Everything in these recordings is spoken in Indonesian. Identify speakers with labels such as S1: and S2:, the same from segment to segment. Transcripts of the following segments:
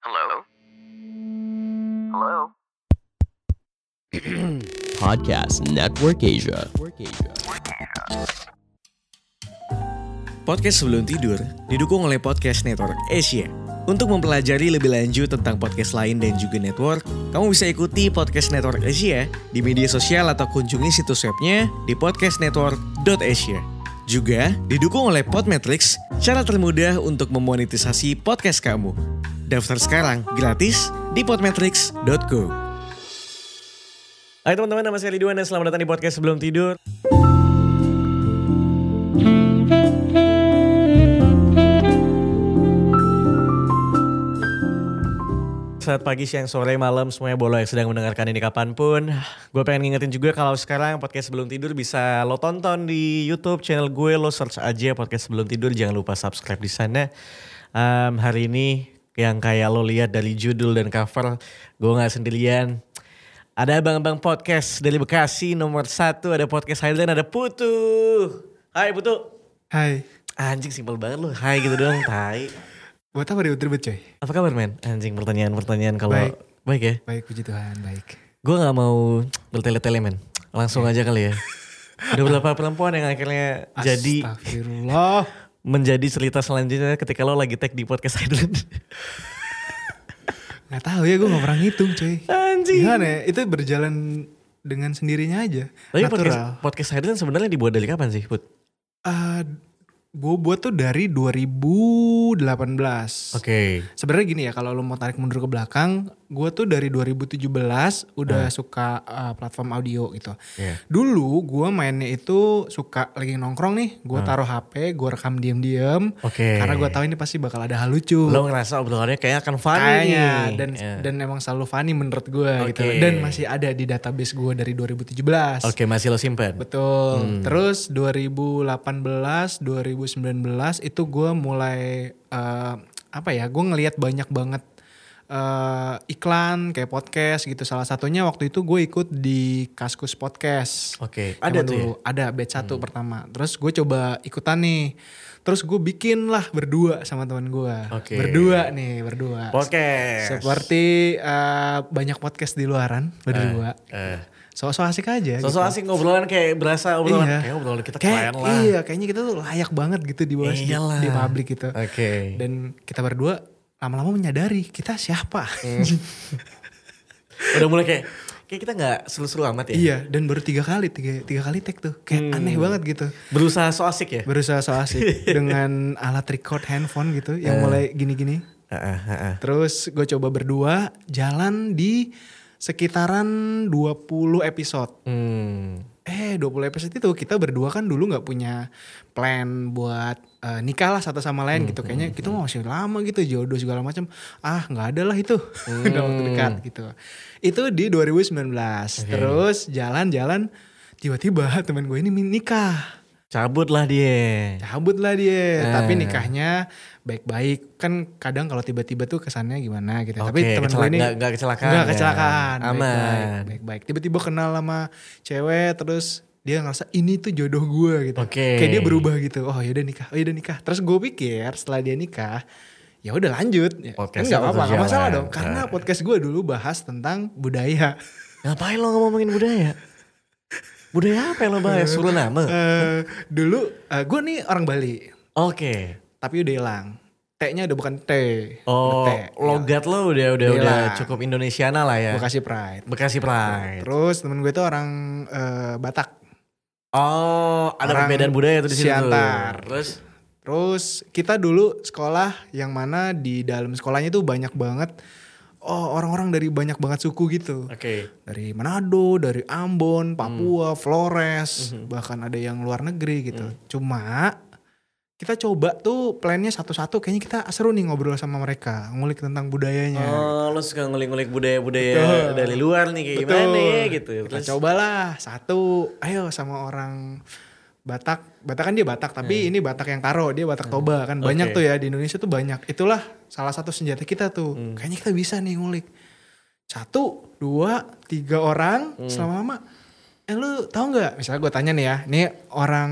S1: Hello? Hello?
S2: Podcast Network Asia.
S3: Podcast Sebelum Tidur didukung oleh Podcast Network Asia. Untuk mempelajari lebih lanjut tentang podcast lain dan juga network, kamu bisa ikuti Podcast Network Asia di media sosial atau kunjungi situs webnya di podcastnetwork.asia. Juga didukung oleh Podmetrics, cara termudah untuk memonetisasi podcast kamu. Daftar sekarang gratis di podmetrics.co. Hai teman-teman, nama saya Ridwan dan selamat datang di podcast Sebelum Tidur. Saat pagi, siang, sore, malam, semuanya bolo yang sedang mendengarkan ini kapanpun. Gue pengen ngingetin juga kalau sekarang podcast sebelum tidur bisa lo tonton di YouTube channel gue. Lo search aja podcast sebelum tidur. Jangan lupa subscribe di sana. Em, hari ini yang kayak lo lihat dari judul dan cover, gue nggak sendirian. Ada abang-abang podcast dari Bekasi nomor satu. Ada podcast Highland, ada Putu. Hai Putu.
S4: Hai,
S3: Anjing simpel banget lo. Hai gitu doang, tai.
S4: buat apa diutribut coy?
S3: Apa kabar men? Anjing pertanyaan-pertanyaan kalau...
S4: Baik.
S3: Baik ya?
S4: Baik puji Tuhan, baik.
S3: Gue gak mau bertele-tele men. Langsung aja kali ya. Ada berapa perempuan yang akhirnya jadi
S4: Astagfirullah.
S3: menjadi cerita selanjutnya ketika lo lagi tag di podcast Island.
S4: Gak tahu ya gue gak pernah ngitung coy.
S3: Anjing.
S4: Gimana ya, itu berjalan dengan sendirinya aja.
S3: Tapi podcast,
S4: Natural.
S3: podcast Island sebenarnya dibuat dari kapan sih Put?
S4: Ah, gue buat tuh dari 2018. Oke.
S3: Oke.
S4: Sebenarnya gini ya, kalau lo mau tarik mundur ke belakang, gue tuh dari 2017 udah suka ah, platform audio gitu.
S3: Hmm. Iya.
S4: Dulu gue mainnya itu suka lagi nongkrong nih, gue taruh HP, gue rekam diem-diem.
S3: Hmm. Oke.
S4: Karena gue tahu ini pasti bakal ada hal lucu.
S3: Lo ngerasa obrolannya kayak akan funny.
S4: Kayaknya
S3: nih.
S4: dan
S3: Ya.
S4: dan emang selalu funny menurut gue gitu
S3: Oke.
S4: dan masih ada di database gue dari 2017
S3: Oke Hmm. masih lo simpen.
S4: betul terus 2018 2019 itu gue mulai eh, apa ya gue ngelihat banyak banget eh, iklan kayak podcast gitu salah satunya waktu itu gue ikut di Kaskus Podcast
S3: Oke.
S4: Zaman
S3: Ada tuh ya?
S4: dulu ada batch satu pertama terus gue coba ikutan nih terus gue bikin lah berdua sama teman gue
S3: Oke.
S4: berdua nih berdua
S3: Podcast.
S4: seperti eh, banyak podcast di luaran berdua
S3: Eh.
S4: sosok asik aja gitu.
S3: Sosok asik ngobrolan kayak berasa obrolan.
S4: Iya.
S3: Kayak obrolan kita
S4: Kayak-
S3: keren lah.
S4: iya kayaknya kita tuh layak banget gitu di bawah di,
S3: Iyalah.
S4: di publik gitu
S3: Oke.
S4: dan kita berdua lama-lama menyadari kita siapa
S3: Hmm. Udah mulai kayak kayak kita nggak seru-seru amat ya.
S4: iya dan baru tiga kali tiga tiga kali tag tuh
S3: Hmm.
S4: kayak aneh banget gitu
S3: Berusaha so asik ya.
S4: berusaha so asik dengan alat record handphone gitu yang
S3: Eh.
S4: mulai gini-gini.
S3: Heeh, heeh.
S4: Terus gue coba berdua jalan di sekitaran 20 episode.
S3: Hmm.
S4: Eh 20 episode itu kita berdua kan dulu nggak punya plan buat eh, nikah lah satu sama lain gitu. Kayaknya kita masih lama gitu jodoh segala macam. Ah nggak ada lah itu udah waktu dekat gitu. Itu di 2019. Terus jalan-jalan tiba-tiba temen gue ini nikah
S3: Cabut lah dia.
S4: cabut lah Ya,
S3: Eh.
S4: dia tapi nikahnya baik-baik kan kadang kalau tiba-tiba tuh kesannya gimana gitu tapi
S3: Oke,
S4: temen gue
S3: kecelakaan-
S4: ini
S3: nggak- nggak kecelakaan
S4: nggak
S3: ya.
S4: kecelakaan
S3: Aman.
S4: baik-baik, baik-baik tiba-tiba kenal sama cewek terus dia ngerasa ini tuh jodoh gue gitu
S3: Oke.
S4: kayak dia berubah gitu oh yaudah nikah oh yaudah nikah terus gue pikir setelah dia nikah ya udah lanjut ya, kan
S3: Podcast ya.
S4: nggak
S3: tetap
S4: apa-apa nggak masalah
S3: berjalan.
S4: dong karena podcast gue dulu bahas tentang budaya
S3: Ngapain lo ngomongin budaya? Budaya apa yang lo bahas? Suruh nama.
S4: Eh, dulu gue nih orang Bali
S3: Oke.
S4: tapi udah hilang. T-nya udah bukan T.
S3: Oh,
S4: udah T.
S3: logat lo udah udah
S4: Iya
S3: udah
S4: lah.
S3: cukup Indonesiana lah ya.
S4: Gua kasih pride.
S3: Bekasi Pride.
S4: Terus temen gue itu orang eh, Batak.
S3: Oh, ada
S4: Orang
S3: perbedaan budaya tuh di sini. tuh.
S4: Siantar.
S3: Terus
S4: Terus kita dulu sekolah yang mana di dalam sekolahnya tuh banyak banget oh orang-orang dari banyak banget suku gitu.
S3: oke.
S4: Dari Manado, dari
S3: Hmm.
S4: Ambon, Papua, Flores, bahkan ada yang luar negeri
S3: Hmm.
S4: gitu. Cuma kita coba tuh plannya satu-satu kayaknya kita seru nih ngobrol sama mereka, ngulik tentang budayanya.
S3: Oh, lo suka ngulik-ngulik budaya-budaya
S4: Iya. Betul.
S3: dari luar nih kayak gimana ya gitu.
S4: Kita
S3: Terus-
S4: cobalah satu. Ayo sama orang Batak. Batak kan dia Batak, tapi ini Batak yang Karo, dia Batak Toba kan. Banyak
S3: Hmm.
S4: tuh
S3: Oke.
S4: ya di Indonesia tuh banyak. Itulah salah satu senjata kita tuh.
S3: Hmm.
S4: Kayaknya kita bisa nih ngulik. Satu, dua, tiga orang selama lama. Eh lu tahu nggak? Misalnya gue tanya nih ya, nih orang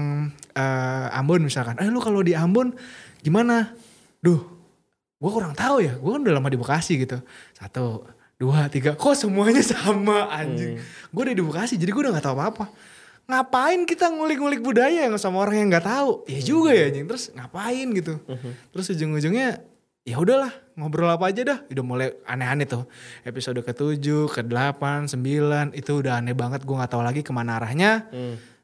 S4: eh, Ambon misalkan. Eh lu kalau di Ambon gimana? Duh, gue kurang tahu ya gue kan udah lama di Bekasi gitu satu dua tiga kok semuanya sama anjing gue udah di Bekasi jadi gue udah nggak tahu apa apa ngapain kita ngulik-ngulik budaya yang sama orang yang nggak tahu ya juga ya anjing terus ngapain gitu terus ujung-ujungnya ya udahlah ngobrol apa aja dah udah mulai aneh-aneh tuh episode ke-7, ke-8, 9 itu udah aneh banget gue nggak tahu lagi kemana arahnya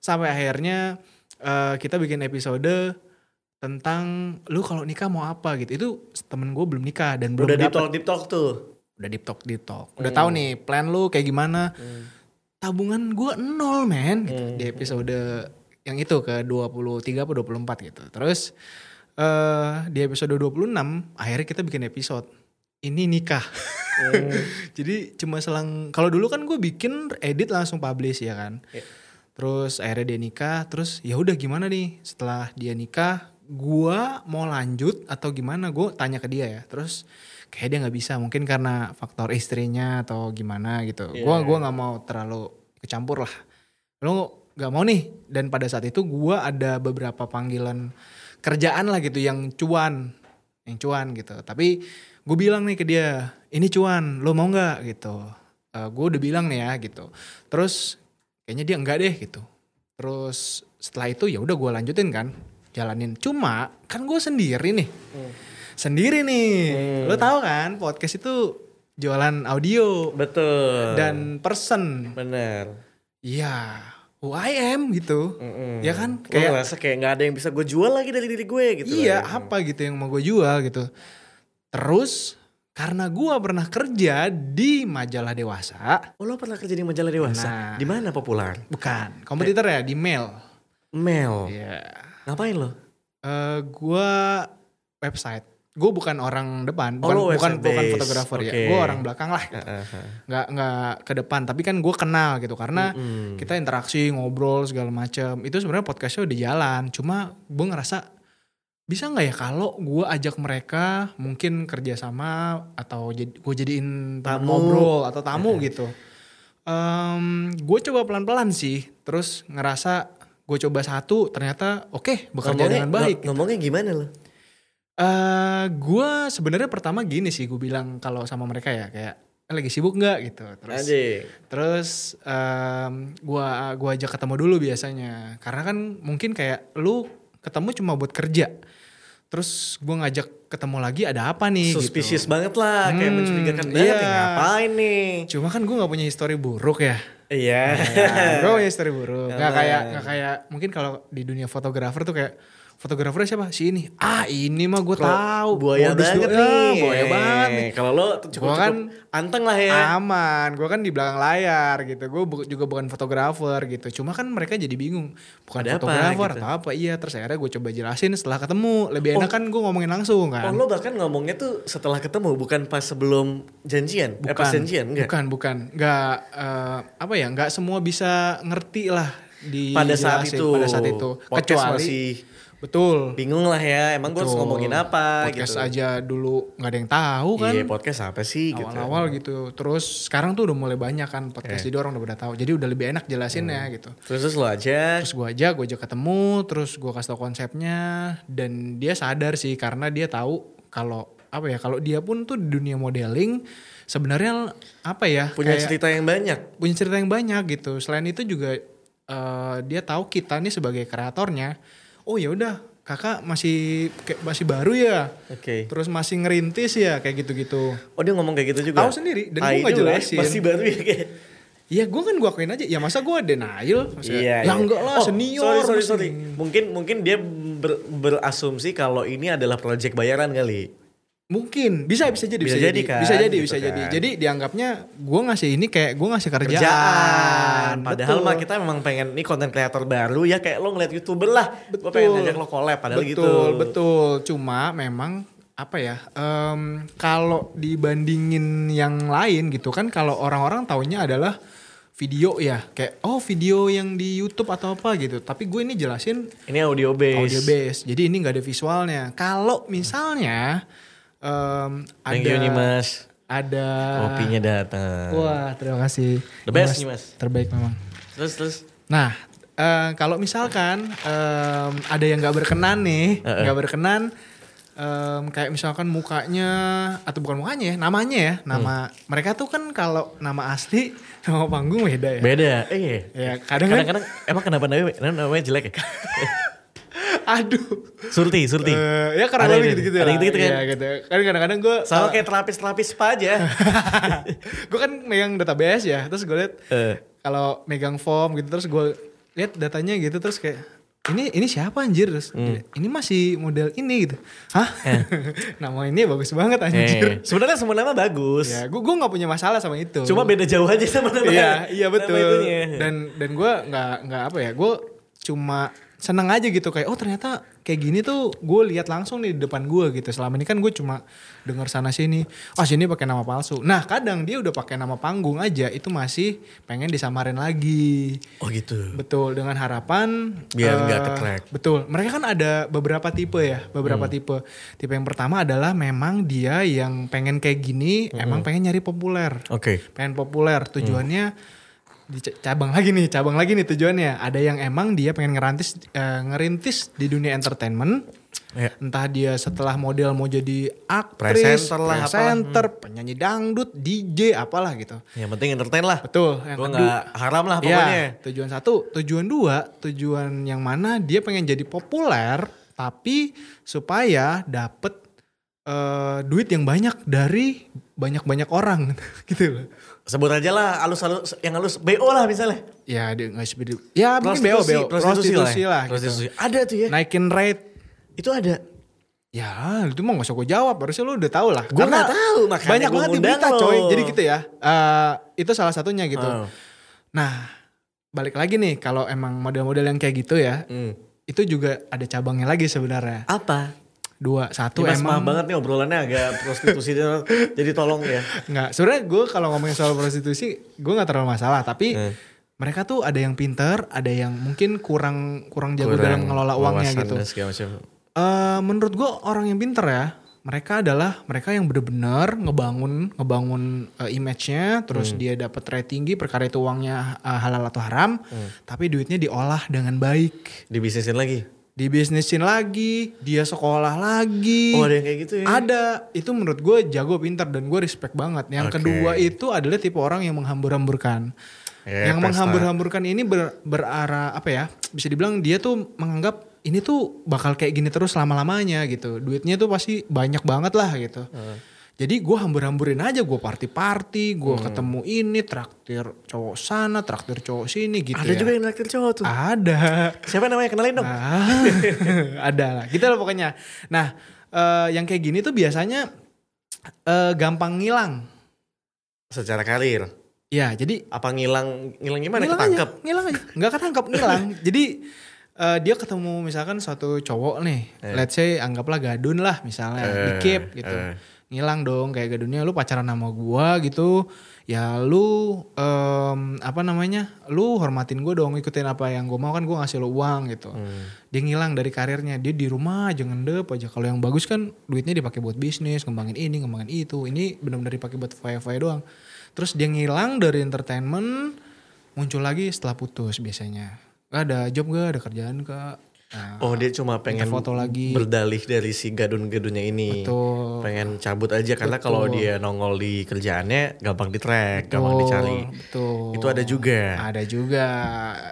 S4: sampai akhirnya eh, kita bikin episode tentang lu kalau nikah mau apa gitu itu temen gue belum nikah dan belum
S3: Udah di
S4: dapet-
S3: talk deep talk tuh.
S4: udah deep talk deep talk udah tahu nih plan lu kayak gimana tabungan gue nol men gitu, di episode yang itu ke 23 atau 24 gitu terus eh di episode 26 akhirnya kita bikin episode ini nikah jadi cuma selang kalau dulu kan gue bikin edit langsung publish ya kan terus akhirnya dia nikah terus ya udah gimana nih setelah dia nikah gua mau lanjut atau gimana gue tanya ke dia ya terus kayak dia nggak bisa mungkin karena faktor istrinya atau gimana gitu gua gua nggak mau terlalu kecampur lah lo nggak mau nih dan pada saat itu gua ada beberapa panggilan kerjaan lah gitu yang cuan yang cuan gitu tapi gue bilang nih ke dia ini cuan lo mau nggak gitu gue udah bilang nih ya gitu terus kayaknya dia enggak deh gitu terus setelah itu ya udah gue lanjutin kan jalanin cuma kan gue sendiri nih sendiri nih lo tau kan podcast itu jualan audio
S3: Betul.
S4: dan person
S3: bener.
S4: ya who I am gitu ya kan
S3: Kayak
S4: kayak
S3: ngerasa kayak nggak ada yang bisa gue jual lagi dari diri gue gitu.
S4: iya
S3: Hmm, lah.
S4: apa gitu yang mau gue jual gitu terus karena gue pernah kerja di majalah dewasa
S3: Oh, lo pernah kerja di majalah dewasa?
S4: Nah.
S3: Di mana populer?
S4: bukan kompetitor ya di mail
S3: Mel.
S4: Iya.
S3: Ngapain lo?
S4: Eh, gua website. Gue bukan orang depan,
S3: Oh,
S4: bukan
S3: lu
S4: bukan,
S3: website
S4: bukan
S3: base.
S4: fotografer ya.
S3: Oke.
S4: Gue orang belakang lah. gitu. Nggak nggak ke depan, tapi kan gue kenal gitu karena
S3: Hmm.
S4: kita interaksi, ngobrol segala macam. Itu sebenarnya podcastnya udah jalan, cuma gue ngerasa bisa nggak ya kalau gue ajak mereka mungkin kerjasama atau gue jadiin teman
S3: Tamu. Hmm.
S4: ngobrol atau tamu gitu. gue coba pelan-pelan sih, terus ngerasa gue coba satu ternyata oke bekerja dengan baik.
S3: ng- ngomongnya gimana lo?
S4: Eh, gua sebenarnya pertama gini sih gue bilang kalau sama mereka ya kayak "Eh, lagi sibuk nggak gitu terus
S3: Anjing.
S4: terus em, gua gua ajak ketemu dulu biasanya karena kan mungkin kayak lu ketemu cuma buat kerja terus gua ngajak ketemu lagi ada apa nih
S3: Suspicious
S4: gitu.
S3: banget lah, kayak
S4: Hmm,
S3: mencurigakan banget.
S4: iya.
S3: Ya, ngapain nih?
S4: cuma kan gua nggak punya histori buruk ya
S3: Iya.
S4: Ya, gue punya story buruk. Gak kayak gak kayak mungkin kalau di dunia fotografer tuh kayak fotografernya siapa? Si ini. Ah ini mah gue tahu.
S3: Nah, buaya
S4: Modus
S3: banget
S4: doang.
S3: nih.
S4: Buaya banget nih.
S3: Kalau lo
S4: Gua
S3: cukup,
S4: kan
S3: cukup anteng lah ya.
S4: Aman. Gue kan di belakang layar gitu. Gue juga bukan fotografer gitu. Cuma kan mereka jadi bingung. Bukan
S3: Ada apa
S4: fotografer
S3: gitu.
S4: atau apa. Iya terus akhirnya gue coba jelasin setelah ketemu. Lebih enak kan gue ngomongin langsung kan.
S3: Oh lo bahkan ngomongnya tuh setelah ketemu bukan pas sebelum janjian, eh, pas janjian enggak?
S4: bukan, bukan. Nggak, eh, apa ya, nggak semua bisa ngerti lah di
S3: Pada saat itu.
S4: Iya pada saat itu.
S3: Podcast
S4: Kecuali,
S3: masih
S4: betul,
S3: Bingung lah ya, emang gue harus
S4: Betul.
S3: ngomongin apa
S4: podcast
S3: gitu.
S4: aja dulu nggak ada yang tahu kan
S3: Iya podcast apa sih gitu. Eh.
S4: awal-awal gitu. terus sekarang tuh udah mulai banyak kan podcast jadi orang udah pada tahu jadi udah lebih enak jelasinnya
S3: Hmm.
S4: gitu
S3: Terus terus lo aja.
S4: terus gue aja gue aja ketemu terus gue kasih tau konsepnya dan dia sadar sih karena dia tahu kalau apa ya kalau dia pun tuh di dunia modeling sebenarnya apa ya
S3: punya
S4: kayak-
S3: cerita yang banyak.
S4: punya cerita yang banyak gitu. Selain itu juga eh, dia tahu kita nih sebagai kreatornya. Oh ya udah, kakak masih kayak masih baru ya.
S3: Oke.
S4: Terus masih ngerintis ya kayak gitu-gitu.
S3: Oh dia ngomong kayak gitu juga.
S4: Tahu sendiri, dan
S3: Ah,
S4: gua nggak
S3: ini loh ya,
S4: jelasin.
S3: Masih baru ya kayak.
S4: Ya gue kan gue akuin aja. Ya masa gue denial? Maksudnya, ya enggak lah
S3: Oh,
S4: senior.
S3: Sorry sorry
S4: mesti-
S3: sorry. Mungkin mungkin dia ber- berasumsi kalau ini adalah proyek bayaran kali.
S4: Mungkin bisa bisa jadi
S3: Bisa jadi kan,
S4: bisa jadi
S3: gitu
S4: bisa jadi.
S3: kan.
S4: Jadi dianggapnya gue ngasih ini kayak gue ngasih kerjaan.
S3: Kerjaan. Padahal
S4: Betul.
S3: mah kita memang pengen nih konten kreator baru ya kayak lo ngeliat youtuber lah. Gue pengen ngajak lo collab padahal
S4: betul,
S3: gitu.
S4: Betul, cuma memang apa ya? em, kalau dibandingin yang lain gitu kan kalau orang-orang taunya adalah video ya, kayak oh video yang di YouTube atau apa gitu. Tapi gue ini jelasin
S3: Ini audio base.
S4: audio based. Jadi ini nggak ada visualnya. Kalau misalnya em,
S3: Thank
S4: ada
S3: you nih mas.
S4: ada
S3: Kopinya datang.
S4: Wah, terima kasih.
S3: The
S4: Mas,
S3: best nih, Mas.
S4: Terbaik memang.
S3: Terus terus.
S4: Nah, eh, kalau misalkan em, ada yang nggak berkenan nih, nggak berkenan, em, kayak misalkan mukanya atau bukan mukanya ya, namanya ya,
S3: Hmm.
S4: nama mereka tuh kan kalau nama asli nama panggung beda ya.
S3: Beda. Eh.
S4: Ya, kadang kan
S3: Kadang-kadang emang kenapa namanya, namanya jelek ya?
S4: aduh.
S3: Surti, Surti.
S4: Eh, ya karena
S3: Ada
S4: lebih
S3: yang-
S4: gitu-gitu
S3: ada
S4: lah.
S3: yang gitu-gitu kan?
S4: Iya, gitu. Kan kadang-kadang gue
S3: Sama kayak terapis-terapis spa aja.
S4: gue kan megang database ya terus gue liat
S3: Eh.
S4: kalau megang form gitu terus gue liat datanya gitu terus kayak ini ini siapa anjir terus
S3: Hmm.
S4: ini masih model ini gitu hah nama ini bagus banget
S3: Eh,
S4: anjir
S3: Sebenarnya semua nama bagus.
S4: ya gue nggak punya masalah sama itu
S3: Cuma beda jauh aja sama nama.
S4: iya iya
S3: nama
S4: betul
S3: itunya.
S4: dan dan gue nggak nggak apa ya gue cuma seneng aja gitu kayak oh ternyata kayak gini tuh gue lihat langsung nih di depan gue gitu selama ini kan gue cuma dengar sana sini ah sini pakai nama palsu nah kadang dia udah pakai nama panggung aja itu masih pengen disamarin lagi
S3: Oh gitu.
S4: betul dengan harapan
S3: Biar nggak
S4: eh,
S3: ketrack.
S4: betul mereka kan ada beberapa tipe ya beberapa
S3: Hmm.
S4: tipe tipe yang pertama adalah memang dia yang pengen kayak gini
S3: Hmm.
S4: emang pengen nyari populer
S3: Oke.
S4: pengen populer tujuannya di ca- cabang lagi nih cabang lagi nih tujuannya ada yang emang dia pengen ngerantis eh, ngerintis di dunia entertainment
S3: Ya.
S4: entah dia setelah model mau jadi aktris
S3: Presenter lah, apalah. Hmm.
S4: presenter, penyanyi dangdut DJ apalah gitu
S3: Yang penting entertain lah.
S4: betul yang
S3: Gue
S4: kedua
S3: nggak haram lah Ah, pokoknya.
S4: ya, tujuan satu tujuan dua tujuan yang mana dia pengen jadi populer tapi supaya dapet eh, duit yang banyak dari banyak-banyak orang gitu loh
S3: Sebut aja lah alus-alus yang alus BO lah misalnya.
S4: ya dia nggak seperti ya mungkin BO BO
S3: prostitusi, prostitusi, lah. ya.
S4: gitu.
S3: Prostitusi. Ada tuh ya.
S4: naikin rate
S3: Itu ada.
S4: ya itu mau nggak usah gue jawab harusnya lu udah tahu lah
S3: Gua
S4: Karena
S3: nggak tahu, makanya
S4: banyak
S3: gua
S4: banget di
S3: ngundang
S4: berita
S3: lo.
S4: coy jadi gitu ya Eh itu salah satunya gitu
S3: Oh.
S4: nah balik lagi nih kalau emang model-model yang kayak gitu ya
S3: Hmm.
S4: itu juga ada cabangnya lagi sebenarnya
S3: Apa?
S4: dua satu
S3: Tuh
S4: emang
S3: banget nih obrolannya agak prostitusi. jadi tolong ya.
S4: nggak sebenarnya gue kalau ngomongin soal prostitusi gue nggak terlalu masalah tapi
S3: Hmm.
S4: mereka tuh ada yang pinter ada yang mungkin kurang kurang jago dalam
S3: Kurang
S4: ngelola uangnya
S3: wawasan
S4: gitu
S3: dan segala macam.
S4: Eh, menurut gue orang yang pinter ya mereka adalah mereka yang bener-bener ngebangun ngebangun eh, image-nya terus dia dapat rate tinggi perkara itu uangnya eh, halal atau haram tapi duitnya diolah dengan baik
S3: Dibisnisin lagi.
S4: dibisnisin lagi dia sekolah lagi
S3: Oh ada yang kayak gitu ya.
S4: ada itu menurut gue jago pinter dan gue respect banget yang
S3: Oke.
S4: kedua itu adalah tipe orang yang menghambur-hamburkan
S3: Ya,
S4: yang
S3: pesta.
S4: menghambur-hamburkan ini ber- berarah apa ya bisa dibilang dia tuh menganggap ini tuh bakal kayak gini terus lama-lamanya gitu duitnya tuh pasti banyak banget lah gitu
S3: Eh.
S4: jadi gue hambur-hamburin aja gue party-party gue
S3: Hmm.
S4: ketemu ini traktir cowok sana traktir cowok sini gitu
S3: Ada
S4: ya.
S3: juga yang naktir cowok tuh.
S4: ada
S3: Siapa namanya kenalin dong?
S4: Ah, ada lah. Gitu lah pokoknya. Nah, eh, yang kayak gini tuh biasanya eh, gampang ngilang.
S3: Secara karir.
S4: Ya, jadi
S3: Apa ngilang ngilang gimana?
S4: ngilang
S3: Ketangkep.
S4: aja, ngilang aja. Nggak ketangkep, ngilang. jadi eh, dia ketemu misalkan suatu cowok nih, let's say anggaplah gadun lah misalnya,
S3: Eh,
S4: di keep gitu.
S3: eh.
S4: Ngilang dong kayak gadunnya lu pacaran sama gua gitu. Ya lu em, apa namanya? Lu hormatin gua dong, ikutin apa yang gua mau kan gua ngasih lu uang gitu.
S3: Hmm.
S4: Dia ngilang dari karirnya, dia di rumah aja ngendep aja. Kalau yang bagus kan duitnya dipakai buat bisnis, ngembangin ini, ngembangin itu. Ini benar-benar dipakai buat foya-foya doang. Terus dia ngilang dari entertainment, muncul lagi setelah putus biasanya. Gak ada job gak, ada kerjaan gak. Nah,
S3: Oh dia cuma pengen
S4: foto lagi.
S3: berdalih dari si gadun-gadunnya ini.
S4: Betul.
S3: Pengen cabut aja karena kalau dia nongol di kerjaannya gampang di track, gampang dicari.
S4: betul.
S3: Itu ada juga.
S4: Ada juga.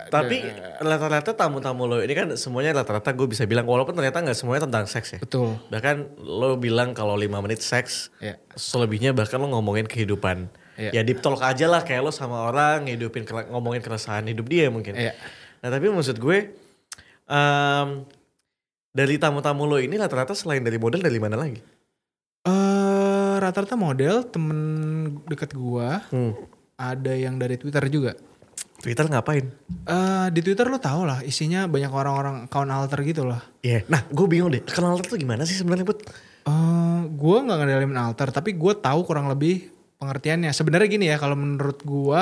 S3: Tapi rata-rata tamu-tamu lo ini kan semuanya rata-rata gue bisa bilang walaupun ternyata nggak semuanya tentang seks ya.
S4: Betul.
S3: Bahkan lo bilang kalau lima menit seks,
S4: Ya.
S3: selebihnya bahkan lo ngomongin kehidupan.
S4: Iya.
S3: Ya deep talk aja lah kayak lo sama orang ngidupin kela- ngomongin keresahan hidup dia mungkin.
S4: Iya.
S3: Nah tapi maksud gue em, dari tamu-tamu lo ini rata-rata selain dari model dari mana lagi?
S4: Eh, rata-rata model temen deket gua ada yang dari Twitter juga.
S3: Twitter ngapain?
S4: Eh di Twitter lo tau lah isinya banyak orang-orang account alter gitu lah.
S3: Iya. Nah gue bingung deh kenal tuh gimana sih sebenarnya buat?
S4: Eh, gue nggak ngedalamin alter, tapi gue tahu kurang lebih pengertiannya. Sebenarnya gini ya, kalau menurut gue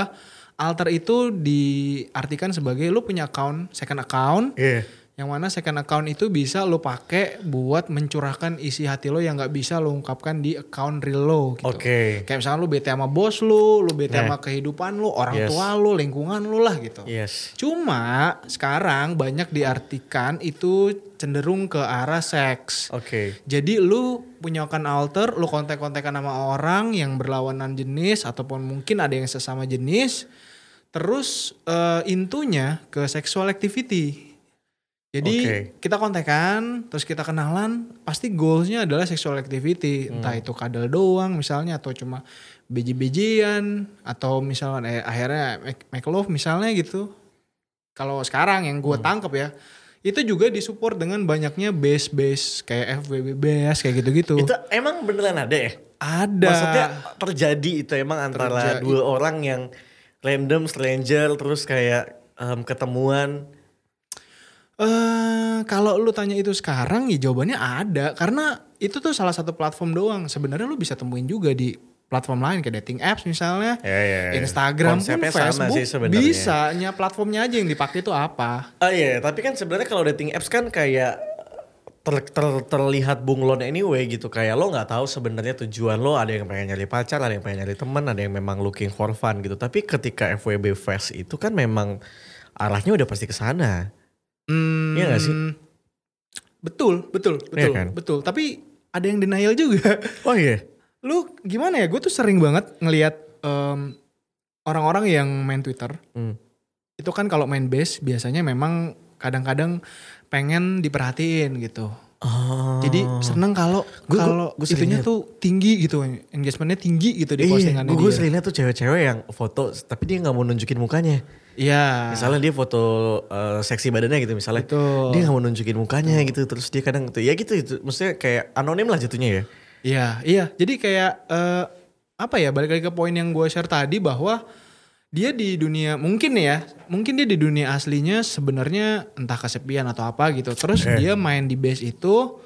S4: alter itu diartikan sebagai lu punya account, second account,
S3: Iya.
S4: Yang mana second account itu bisa lo pakai buat mencurahkan isi hati lo yang nggak bisa lo ungkapkan di account real lo gitu.
S3: Oke.
S4: Kayak misalnya lo bete sama bos lo, lo bete
S3: Nah.
S4: sama kehidupan lo, orang
S3: Yes.
S4: tua lo, lingkungan lo lah gitu.
S3: Yes.
S4: Cuma sekarang banyak diartikan itu cenderung ke arah seks.
S3: Oke.
S4: Jadi lu punya account alter, lu kontak-kontakan sama orang yang berlawanan jenis ataupun mungkin ada yang sesama jenis. Terus eh, intunya ke sexual activity. Jadi
S3: Oke.
S4: kita kontekan, terus kita kenalan, pasti goalsnya adalah sexual activity. Entah itu kadal doang misalnya atau cuma beji-bejian atau misalnya eh, akhirnya make, make love misalnya gitu. Kalau sekarang yang
S3: Hmm.
S4: gue tangkep ya, itu juga disupport dengan banyaknya base-base kayak FWB base kayak gitu-gitu.
S3: Itu emang beneran ada ya?
S4: ada.
S3: Maksudnya terjadi itu emang antara
S4: Terjadi.
S3: dua orang yang random stranger terus kayak em, ketemuan.
S4: Eh, kalau lu tanya itu sekarang ya jawabannya ada karena itu tuh salah satu platform doang. Sebenarnya lu bisa temuin juga di platform lain kayak dating apps misalnya,
S3: Ya, ya, ya.
S4: Instagram
S3: Konsepnya
S4: pun
S3: sama
S4: Facebook
S3: sih sebenarnya.
S4: bisanya platformnya aja yang dipakai itu apa?
S3: Ah iya, tapi kan sebenarnya kalau dating apps kan kayak ter- ter- terlihat bunglon anyway gitu kayak lo nggak tahu sebenarnya tujuan lo ada yang pengen nyari pacar ada yang pengen nyari teman ada yang memang looking for fun gitu tapi ketika FWB Fest itu kan memang arahnya udah pasti ke sana
S4: Hmm,
S3: Iya nggak sih?
S4: Betul, betul, betul,
S3: kan?
S4: betul. Tapi ada yang denial juga.
S3: oh iya
S4: lu gimana ya? Gue tuh sering banget ngelihat em, orang-orang yang main Twitter
S3: Hmm.
S4: itu kan kalau main base biasanya memang kadang-kadang pengen diperhatiin gitu.
S3: Ah.
S4: Jadi seneng kalau
S3: Oh. Gua- gua-
S4: kalau
S3: gua sering
S4: itunya
S3: liat.
S4: tuh tinggi gitu, engagementnya tinggi gitu di
S3: Iya,
S4: postingannya
S3: gue
S4: dia.
S3: sering liat tuh cewek-cewek yang foto tapi dia nggak mau nunjukin mukanya.
S4: Iya.
S3: Misalnya dia foto eh, seksi badannya gitu misalnya.
S4: Betul.
S3: Dia nggak mau nunjukin mukanya gitu terus dia kadang gitu ya gitu itu maksudnya kayak anonim lah jatuhnya ya.
S4: Iya, iya. Jadi kayak eh, apa ya? Balik lagi ke poin yang gue share tadi bahwa dia di dunia mungkin nih ya, mungkin dia di dunia aslinya sebenarnya entah kesepian atau apa gitu. Terus
S3: Eh.
S4: dia main di base itu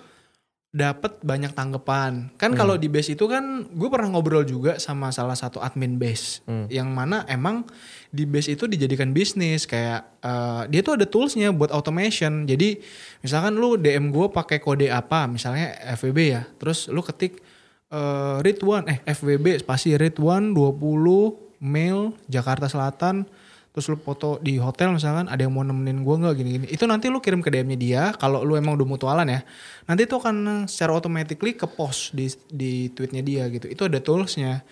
S4: dapat banyak tanggapan. Kan kalau di base itu kan gue pernah ngobrol juga sama salah satu admin base yang mana emang di base itu dijadikan bisnis kayak eh, dia tuh ada toolsnya buat automation. Jadi misalkan lu DM gue pakai kode apa, misalnya FWB ya. Terus lu ketik eh read one eh FWB spasi read one 20 mail Jakarta Selatan terus lu foto di hotel misalkan ada yang mau nemenin gue nggak gini-gini itu nanti lu kirim ke DM-nya dia kalau lu emang udah mutualan ya nanti itu akan secara automatically ke post di di tweetnya dia gitu itu ada toolsnya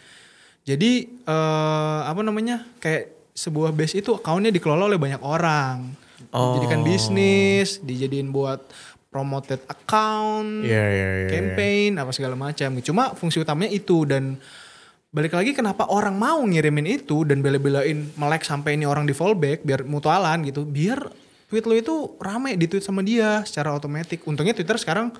S4: jadi eh, apa namanya kayak sebuah base itu accountnya dikelola oleh banyak orang
S3: Oh.
S4: dijadikan bisnis dijadiin buat promoted account
S3: Iya, iya, iya,
S4: campaign apa segala macam cuma fungsi utamanya itu dan balik lagi kenapa orang mau ngirimin itu dan bela-belain melek sampai ini orang di fallback biar mutualan gitu biar tweet lo itu rame di tweet sama dia secara otomatis untungnya Twitter sekarang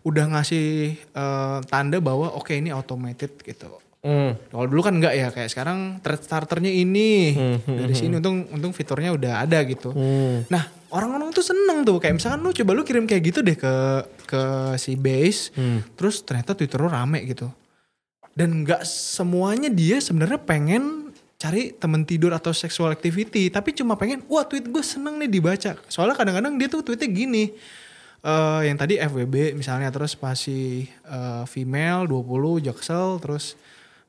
S4: udah ngasih eh, tanda bahwa oke ini automated gitu
S3: Hmm.
S4: kalau dulu kan enggak ya kayak sekarang thread starternya ini dari sini untung untung fiturnya udah ada gitu. Nah orang-orang tuh seneng tuh kayak misalkan lu coba lu kirim kayak gitu deh ke ke si base, terus ternyata Twitter lu rame gitu. Dan enggak semuanya dia sebenarnya pengen cari temen tidur atau sexual activity, tapi cuma pengen wah tweet gue seneng nih dibaca. Soalnya kadang-kadang dia tuh tweetnya gini. eh, yang tadi FWB misalnya terus pasti eh, female 20 jaksel terus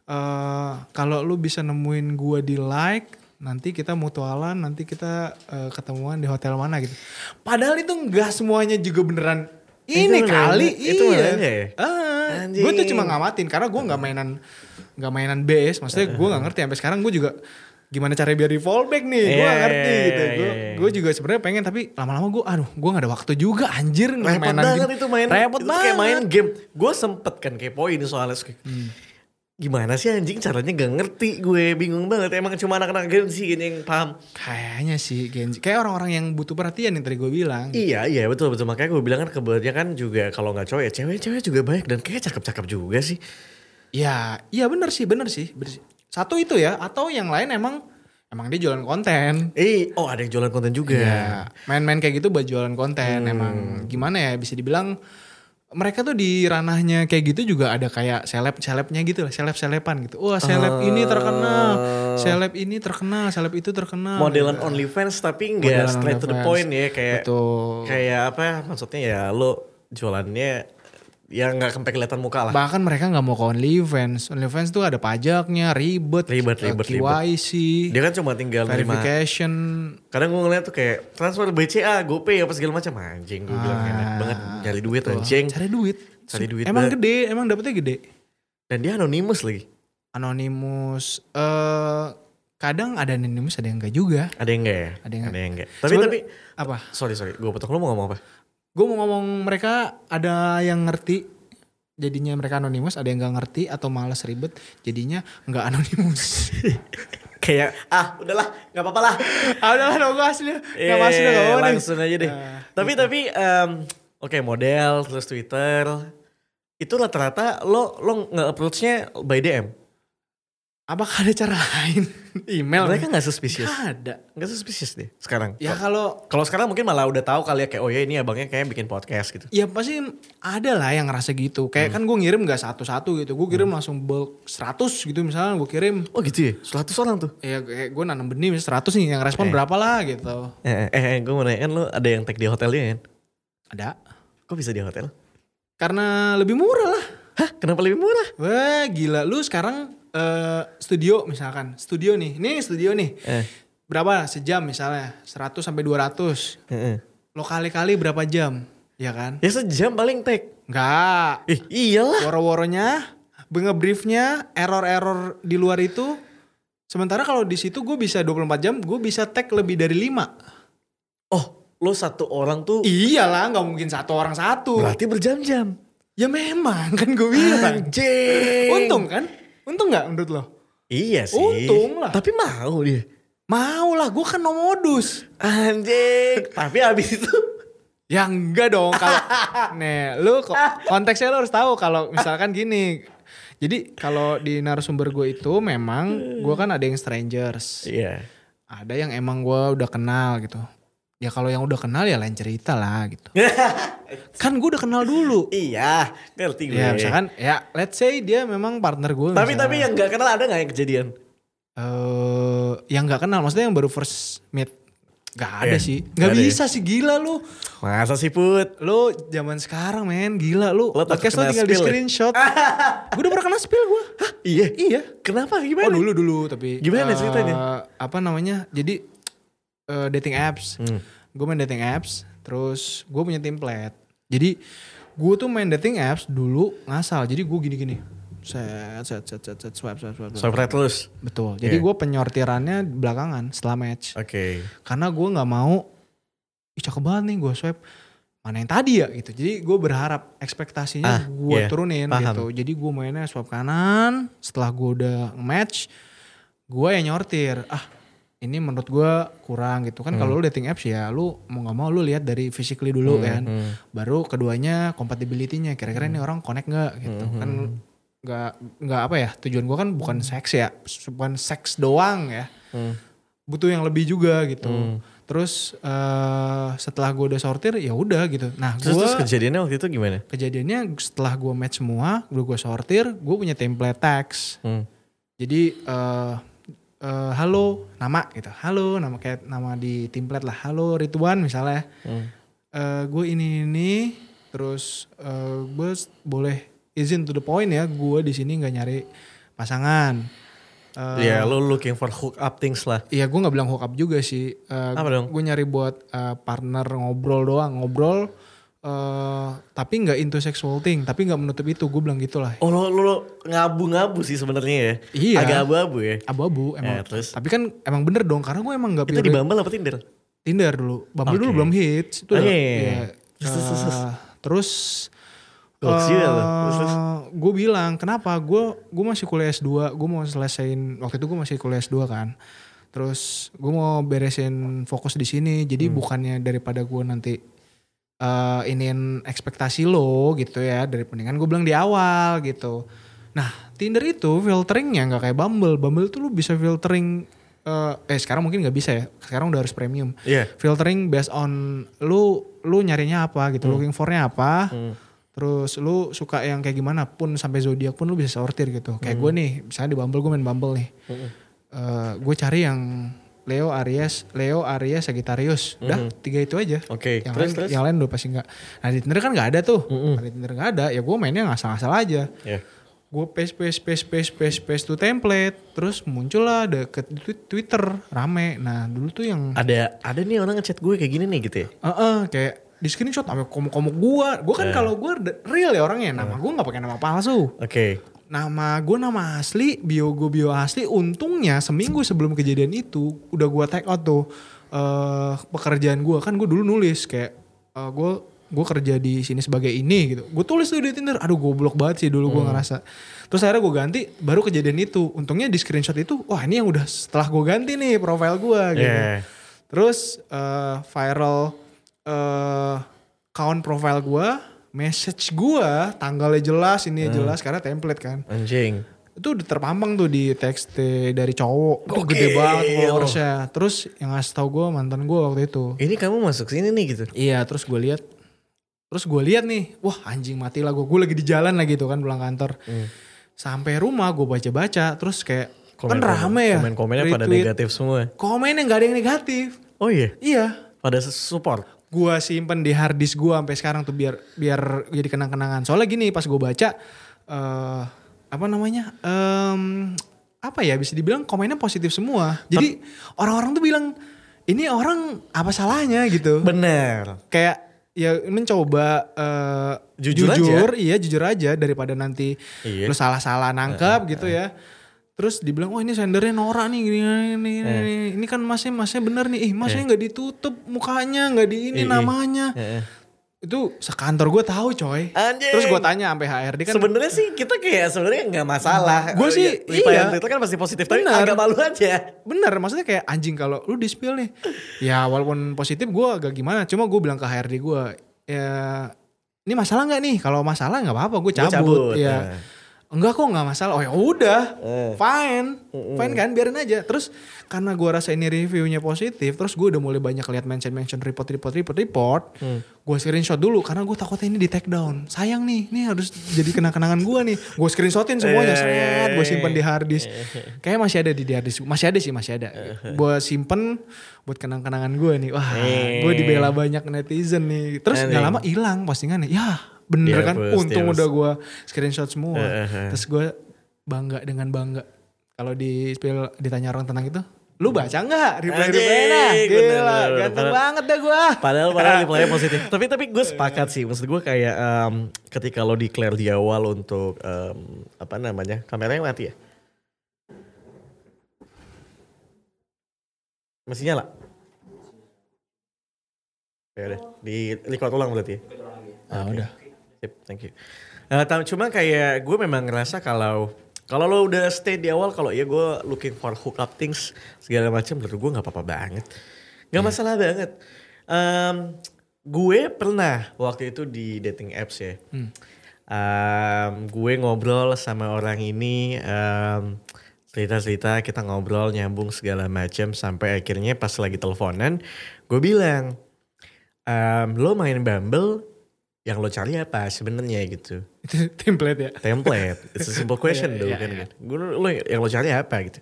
S4: eh kalau lu bisa nemuin gua di like nanti kita mutualan nanti kita eh, ketemuan di hotel mana gitu padahal itu enggak semuanya juga beneran ini
S3: beneran-
S4: kali
S3: itu
S4: iya
S3: beneran ya? Anjing.
S4: gue Ah, tuh cuma ngamatin karena gua nggak mainan nggak mainan base maksudnya gua nggak ngerti sampai sekarang gue juga gimana cara biar di fallback nih gue
S3: Iya,
S4: ngerti
S3: iya,
S4: gitu
S3: iya,
S4: gue
S3: iya.
S4: juga sebenarnya pengen tapi lama-lama gue aduh gue nggak ada waktu juga anjir
S3: Repot
S4: mainan
S3: banget
S4: gini.
S3: itu main.
S4: repot
S3: itu
S4: banget
S3: Kayak main game. Gue sempet kan kepoin soalnya. terus kayak, Gimana sih anjing caranya gak ngerti gue bingung banget emang cuma anak-anak game sih gini yang paham
S4: Kayaknya sih Genji. Kayak orang-orang yang butuh perhatian yang tadi gue bilang.
S3: Iya iya betul betul makanya gue bilang kan kebanyakan juga kalau nggak cowok ya cewek-cewek juga banyak dan kayaknya cakep-cakep juga sih
S4: Ya, iya bener sih, bener sih, bener sih. Satu itu ya, atau yang lain emang emang dia jualan konten.
S3: Eh, oh ada yang jualan konten juga.
S4: Iya.
S3: Hmm.
S4: Ya, main-main kayak gitu buat jualan konten emang gimana ya bisa ya, dibilang mereka tuh di ranahnya kayak gitu juga ada kayak seleb selebnya gitu lah seleb selepan gitu wah seleb
S3: Oh.
S4: ini terkenal seleb ini terkenal seleb itu terkenal
S3: modelan
S4: gitu.
S3: OnlyFans tapi nggak
S4: Modelan
S3: straight to the
S4: OnlyFans.
S3: point ya kayak
S4: Betul.
S3: kayak apa maksudnya ya lo jualannya ya nggak sampai kelihatan muka lah
S4: bahkan mereka nggak mau ke OnlyFans OnlyFans tuh ada pajaknya ribet
S3: Ribet,
S4: eh,
S3: ribet,
S4: KYC
S3: dia kan cuma tinggal terima
S4: verification
S3: kadang gue ngeliat tuh kayak transfer BCA GoPay apa segala macam anjing gue bilang enak
S4: Ah,
S3: banget nyari duit
S4: betul.
S3: anjing
S4: cari duit
S3: Cari duit,
S4: emang
S3: Mbak.
S4: gede emang dapetnya gede
S3: dan dia anonymous lagi
S4: anonimus eh kadang ada anonimus ada yang enggak juga
S3: ada yang enggak ya
S4: Ada yang
S3: ada yang enggak tapi
S4: Sebenarnya-
S3: tapi
S4: apa
S3: sorry sorry gue potong lo mau ngomong apa
S4: gue mau ngomong mereka ada yang ngerti jadinya mereka anonimus ada yang nggak ngerti atau males ribet jadinya nggak anonimus
S3: kayak ah udahlah nggak apa-apa lah
S4: ah udahlah dong gue asli nggak
S3: Eh,
S4: masuk dong nggak apa-apa deh.
S3: langsung aja deh
S4: Nah,
S3: tapi tapi em, oke model terus Twitter itu rata-rata lo lo nge approachnya by DM
S4: apakah ada cara lain email
S3: mereka nggak suspicious
S4: Nggak ada
S3: nggak suspicious deh sekarang
S4: ya kalau
S3: kalau sekarang mungkin malah udah tahu kali ya kayak oh ya ini abangnya kayak bikin podcast gitu
S4: Ya pasti ada lah yang ngerasa gitu. Kayak
S3: Hmm.
S4: kan gue ngirim gak satu-satu gitu. Gue kirim langsung bulk 100 gitu misalnya gue kirim.
S3: oh gitu ya 100 orang tuh
S4: Ya kayak gue nanam benih misalnya 100 nih yang respon
S3: Eh.
S4: berapa lah gitu.
S3: eh, eh, eh gue mau nanya kan lo ada yang tag di hotelnya kan
S4: Ada.
S3: kok bisa di hotel
S4: Karena lebih murah lah.
S3: hah kenapa lebih murah
S4: Wah gila lu sekarang eh, studio misalkan. Studio nih. Ini studio nih.
S3: eh,
S4: Berapa sejam misalnya? 100 sampai 200.
S3: eh, eh.
S4: Lo kali-kali berapa jam? Ya kan?
S3: ya sejam paling tag
S4: Enggak.
S3: ih iyalah
S4: woro-woronya, ngebriefnya, error-error di luar itu. Sementara kalau di situ gue bisa 24 jam, gue bisa tag lebih dari 5.
S3: oh lo satu orang tuh
S4: Iyalah, nggak mungkin satu orang satu.
S3: berarti berjam-jam
S4: Ya memang kan gue bilang.
S3: Anjing.
S4: Untung kan? Untung nggak menurut lo?
S3: Iya sih.
S4: Untung lah.
S3: Tapi mau dia.
S4: Mau lah, gue kan no modus.
S3: Anjing. Tapi abis itu.
S4: Ya enggak dong kalau nih lu ko- konteksnya lu harus tahu kalau misalkan gini. Jadi kalau di narasumber gue itu memang gue kan ada yang strangers.
S3: Iya.
S4: ada yang emang gua udah kenal gitu ya kalau yang udah kenal ya lain cerita lah gitu kan gue udah kenal dulu
S3: iya. Ngerti gue.
S4: ya misalkan ya let's say dia memang partner gue
S3: Tapi ya tapi yang gak kenal ada gak yang kejadian?
S4: Eh, yang nggak kenal maksudnya yang baru first meet Gak ada
S3: Iya,
S4: sih
S3: nggak
S4: Gak
S3: ada ya.
S4: bisa sih gila lu
S3: Masa sih Put?
S4: Lu zaman sekarang men Gila lu
S3: Lu takut
S4: Podcast lu
S3: kena
S4: tinggal di
S3: spill ya?
S4: screenshot Gue udah pernah kena spill gue
S3: Iya. Iya. Kenapa? Gimana?
S4: Oh dulu dulu tapi
S3: Gimana
S4: eh,
S3: ceritanya?
S4: Apa namanya? Jadi eh, dating apps.
S3: Hmm.
S4: Gue main dating apps, terus gue punya template. Jadi gue tuh main dating apps dulu ngasal. Jadi gue gini-gini. Set set set set set swipe swipe swipe. swipe.
S3: Swipe right terus.
S4: Betul. Jadi
S3: Iya.
S4: gue penyortirannya belakangan setelah match.
S3: Oke.
S4: Karena gue nggak mau Ih cakep banget nih gue swipe mana yang tadi ya gitu. Jadi gue berharap
S3: Ah,
S4: ekspektasinya gue
S3: iya.
S4: turunin
S3: Paham.
S4: gitu. Jadi gue mainnya swipe kanan. Setelah gue udah match, gue yang nyortir. Ah ini menurut gue kurang gitu kan.
S3: Hmm.
S4: Kalau lu dating apps ya lu mau nggak mau lu lihat dari physically dulu kan.
S3: hmm.
S4: Baru keduanya compatibility-nya. Kira-kira ini orang connect nggak gitu
S3: Hmm,
S4: kan nggak nggak apa ya tujuan gue kan bukan seks ya bukan seks doang ya
S3: Hmm.
S4: butuh yang lebih juga gitu. Terus eh, setelah gue udah sortir ya udah gitu. Nah
S3: Terus, terus
S4: gue
S3: kejadiannya waktu itu gimana?
S4: kejadiannya setelah gue match semua, udah gue sortir, gue punya template teks.
S3: Hmm.
S4: Jadi eh eh, halo nama gitu, halo nama kayak nama di template lah, halo Rituan misalnya. Eh, gue ini ini terus eh, gue s- boleh izin to the point ya, gue di sini nggak nyari pasangan. Eh,
S3: Ya lo looking for hook up things lah.
S4: Iya gue gak bilang hook up juga sih. Eh,
S3: Apa dong?
S4: Gue nyari buat eh, partner ngobrol doang. Ngobrol eh tapi nggak into sexual thing. Tapi nggak menutup itu. Gue bilang gitu lah.
S3: Oh lo, lo, lo ngabu-ngabu sih sebenarnya ya.
S4: Iya.
S3: Agak abu-abu ya.
S4: Abu-abu emang.
S3: Eh, terus?
S4: Tapi kan emang bener dong. Karena gue emang gak
S3: Itu di Bumble apa Tinder?
S4: Tinder dulu. Bumble dulu
S3: Oke.
S4: belum hits. Itu
S3: Oh,
S4: udah-
S3: iya, iya, iya.
S4: iya.
S3: Terus, terus, terus, terus.
S4: Eh, terus eh,
S3: Looks you ya lo. Terus, terus.
S4: gue bilang kenapa gue gue masih kuliah S2 gue mau selesaiin waktu itu gue masih kuliah S2 kan terus gue mau beresin fokus di sini jadi
S3: Hmm.
S4: bukannya daripada gue nanti eh ingin ekspektasi lo gitu ya dari pendingan gue bilang di awal gitu nah Tinder itu filteringnya nggak kayak Bumble Bumble tuh lu bisa filtering eh, eh sekarang mungkin nggak bisa ya sekarang udah harus premium
S3: Iya. Hmm.
S4: filtering based on lu lu nyarinya apa gitu looking for-nya apa Terus lu suka yang kayak gimana pun sampai zodiak pun lu bisa sortir gitu.
S3: Hmm.
S4: Kayak gue nih, misalnya di Bumble gue main Bumble nih. Eh, gue cari yang Leo, Aries, Leo, Aries, Sagittarius. Udah, tiga itu aja.
S3: Hmm. Oke,
S4: Yang
S3: terus,
S4: lain,
S3: terus? Hmm,
S4: yang lain udah pasti enggak. Nah, di Tinder kan nggak ada tuh. Nah, Di Tinder nggak ada. Ya gue mainnya ngasal-ngasal aja.
S3: Ya.
S4: Gue paste, paste, paste, paste, paste, paste to template. Terus muncul lah deket di twi- Twitter, rame. Nah, dulu tuh yang
S3: Ada ada nih orang ngechat gue kayak gini nih gitu ya.
S4: Eh, eh, kayak di screenshot sama komuk-komuk gue. Gue kan kalau gue de- real ya orangnya. Nama gue nggak pakai nama palsu.
S3: Oke.
S4: Nama gue nama asli, bio gue bio asli. Untungnya seminggu sebelum kejadian itu udah gue take out tuh eh pekerjaan gue. Kan gue dulu nulis kayak eh, gue gue kerja di sini sebagai ini gitu. Gue tulis tuh di Tinder. Aduh goblok banget sih dulu gue ngerasa. Terus akhirnya gue ganti baru kejadian itu. Untungnya di screenshot itu wah ini yang udah setelah gue ganti nih profil gue gitu.
S3: Yeah.
S4: Terus eh, viral eh account profile gue, message gue, tanggalnya jelas, ini
S3: Hmm.
S4: jelas karena template kan.
S3: Anjing.
S4: Itu udah terpampang tuh di teks dari cowok. Itu gede
S3: Gokil.
S4: banget followersnya. Terus yang ngasih tau gue mantan gue waktu itu.
S3: Ini kamu masuk sini nih gitu.
S4: Iya terus gue lihat terus gue lihat nih wah anjing mati lah gue gue lagi di jalan lagi tuh kan pulang kantor
S3: Hmm.
S4: sampai rumah gue baca baca terus kayak kan rame ya
S3: Komen-komennya pada
S4: retweet.
S3: negatif semua.
S4: komennya nggak ada yang negatif
S3: Oh iya.
S4: iya
S3: Pada support.
S4: gua simpen di hard disk gua sampai sekarang tuh biar biar jadi kenang-kenangan. Soalnya gini pas gua baca eh apa namanya? Em, apa ya bisa dibilang komennya positif semua. Jadi orang-orang tuh bilang ini orang apa salahnya gitu.
S3: Bener.
S4: Kayak ya mencoba eh,
S3: Jujur
S4: iya jujur aja daripada nanti
S3: Iya. Eh,
S4: lu salah-salah nangkep gitu ya. Terus dibilang wah ini sendernya Nora nih gini gini, gini gini,
S3: Eh.
S4: gini. Ini kan masnya masnya bener nih. Ih, masnya nggak ditutup mukanya, nggak di ini
S3: Iya, iya.
S4: namanya
S3: Heeh.
S4: itu sekantor gue tahu coy
S3: Anjing.
S4: terus gue tanya sampai HRD kan
S3: sebenarnya sih kita kayak sebenarnya nggak masalah. Oh
S4: Gua sih,
S3: Lipayan
S4: iya.
S3: Twitter kan pasti positif
S4: Bener.
S3: tapi agak malu aja.
S4: bener maksudnya kayak anjing kalau lu di spill nih ya walaupun positif gue agak gimana cuma gue bilang ke HRD gue ya ini masalah nggak nih kalau masalah nggak apa-apa gue cabut,
S3: cabut,
S4: ya enggak kok nggak masalah oh ya udah
S3: Iya. Eh.
S4: fine fine kan biarin aja terus karena gue rasa ini reviewnya positif terus gue udah mulai banyak lihat mention mention report report report report
S3: Hmm.
S4: gue screenshot dulu karena gue takutnya ini di take down sayang nih ini harus jadi kenang-kenangan gue nih gue screenshotin semuanya
S3: Eh.
S4: seret gue simpen di hard disk kayaknya masih ada di di hard disk masih ada sih masih ada gue simpen buat kenang-kenangan gue nih wah
S3: Eh.
S4: gue dibela banyak netizen nih terus
S3: Anjing.
S4: nggak lama hilang postingannya ya bener
S3: Dihapus,
S4: kan untung
S3: dihapus.
S4: udah gue screenshot semua
S3: Iya, Eh, eh, eh.
S4: terus gue bangga dengan bangga kalau di spill ditanya orang tentang itu lu baca nggak reply reply nah
S3: Anjing,
S4: gila
S3: bener, bener, bener.
S4: ganteng
S3: Padahal-
S4: banget dah gue
S3: Padahal padahal reply-nya positif. Tapi tapi gue sepakat sih. Maksud gue kayak em, ketika lo declare di awal untuk em, apa namanya kameranya mati ya. Masih nyala. Ya udah, di record ulang berarti. Ya?
S4: ah udah
S3: Sip, thank you. Eh, tam- cuma kayak gue memang ngerasa kalau kalau lo udah stay di awal kalau ya gue looking for hookup things segala macam menurut gue nggak apa-apa banget nggak masalah banget Em, gue pernah waktu itu di dating apps ya Em, gue ngobrol sama orang ini em, cerita-cerita kita ngobrol nyambung segala macam sampai akhirnya pas lagi teleponan gue bilang em, lo main Bumble yang lo cari apa sebenarnya gitu
S4: itu template ya
S3: template it's a simple question
S4: Iya,
S3: dulu
S4: iya,
S3: kan gitu. Gua, lo yang lo cari apa gitu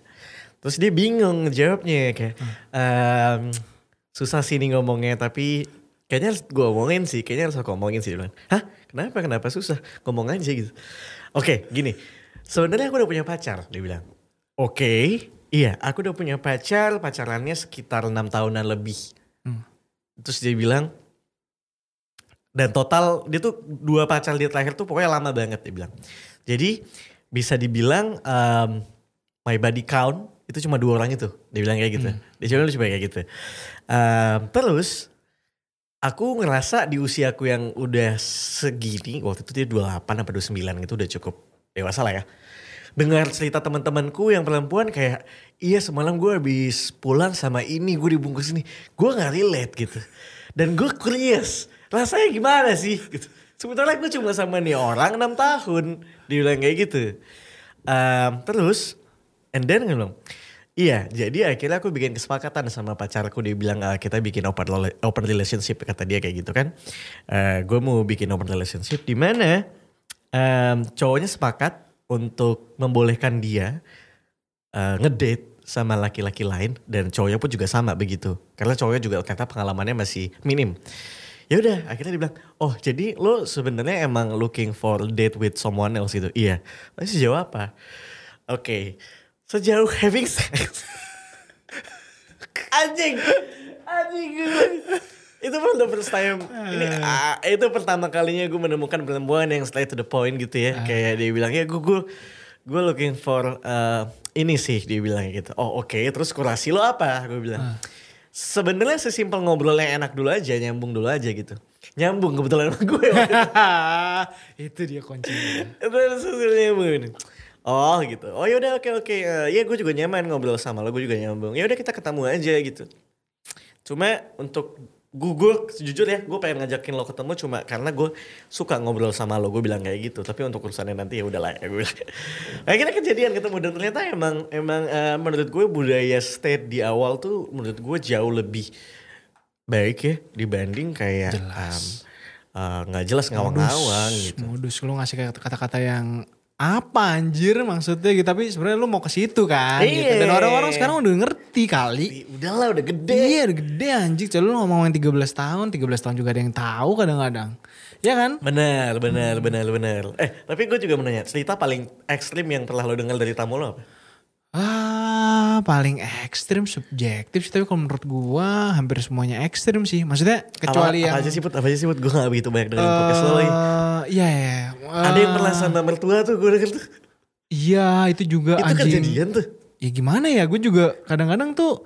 S3: terus dia bingung jawabnya kayak
S4: Hmm.
S3: ehm, susah sih nih ngomongnya tapi kayaknya harus gue omongin sih kayaknya harus aku omongin sih dia bilang hah kenapa kenapa susah ngomong aja gitu oke gini sebenarnya aku udah punya pacar dia bilang oke iya aku udah punya pacar pacarannya sekitar enam tahunan lebih
S4: Hmm.
S3: terus dia bilang dan total dia tuh dua pacar dia terakhir tuh pokoknya lama banget dia bilang. Jadi bisa dibilang em, my body count itu cuma dua orang itu. Dia bilang kayak gitu. Dia cuma cuma kayak gitu. Em, terus aku ngerasa di usiaku yang udah segini waktu itu dia 28 apa 29 gitu udah cukup dewasa lah ya. Dengar cerita teman-temanku yang perempuan kayak iya semalam gue habis pulang sama ini gue dibungkus ini. Gue nggak relate gitu. Dan gue curious rasanya gimana sih gitu. Sebetulnya gue cuma sama nih orang 6 tahun. Dibilang kayak gitu. Em, terus and then gue bilang Iya, jadi akhirnya aku bikin kesepakatan sama pacarku. Dia bilang "Ah, kita bikin open rela- open relationship kata dia kayak gitu kan. Eh gue mau bikin open relationship di mana em, cowoknya sepakat untuk membolehkan dia eh, ngedate sama laki-laki lain dan cowoknya pun juga sama begitu. Karena cowoknya juga kata pengalamannya masih minim. Ya udah, akhirnya dia bilang, "Oh, jadi lo sebenarnya emang looking for date with someone else gitu." Iya. Tapi sejauh apa? Oke. Sejauh having sex. anjing. Anjing gue. Itu pun the first time. Ini ah, itu pertama kalinya gue menemukan perempuan yang straight to the point gitu ya. Kayak dia bilang, "Ya gue gue gue looking for uh, ini sih." Dia bilang gitu. Oh, oke. Terus kurasi lo apa? Gue bilang. Sebenarnya sesimpel ngobrol yang enak dulu aja, nyambung dulu aja gitu. Nyambung kebetulan sama gue. waktu itu.
S4: itu dia kuncinya.
S3: Terus hasilnya begini. Oh gitu. Oh yaudah oke oke. Eh, ya gue juga nyaman ngobrol sama lo. Gue juga nyambung. Ya udah kita ketemu aja gitu. Cuma untuk gue, gue jujur ya gue pengen ngajakin lo ketemu cuma karena gue suka ngobrol sama lo gue bilang kayak gitu tapi untuk urusannya nanti ya udahlah ya gue bilang. akhirnya kejadian ketemu dan ternyata emang emang eh, menurut gue budaya state di awal tuh menurut gue jauh lebih baik ya dibanding kayak em, eh, nggak jelas ngawang-ngawang gitu
S4: Modus lu ngasih kata-kata yang apa anjir maksudnya gitu tapi sebenarnya lu mau ke situ kan gitu. dan
S3: Iya.
S4: orang-orang sekarang udah ngerti kali
S3: Ih, udahlah udah gede
S4: Iya udah gede anjing. Coba lu ngomongin 13 tahun, 13 tahun juga ada yang tahu kadang-kadang. Ya kan?
S3: Benar, benar, benar, benar. Eh, tapi gue juga mau nanya, cerita paling ekstrim yang pernah lo dengar dari tamu lo apa?
S4: Ah, paling ekstrim subjektif sih tapi kalau menurut gua hampir semuanya ekstrim sih. Maksudnya kecuali
S3: apa,
S4: yang
S3: Apa aja sih, Put? Apa aja sih, Put? Gue gak begitu banyak dengerin podcast lo lagi.
S4: Eh, Iya ya.
S3: Ada yang pernah sama mertua tuh, gue denger tuh.
S4: Iya, itu juga
S3: Itu
S4: anjing.
S3: kejadian tuh.
S4: Ya gimana ya? Gue juga kadang-kadang tuh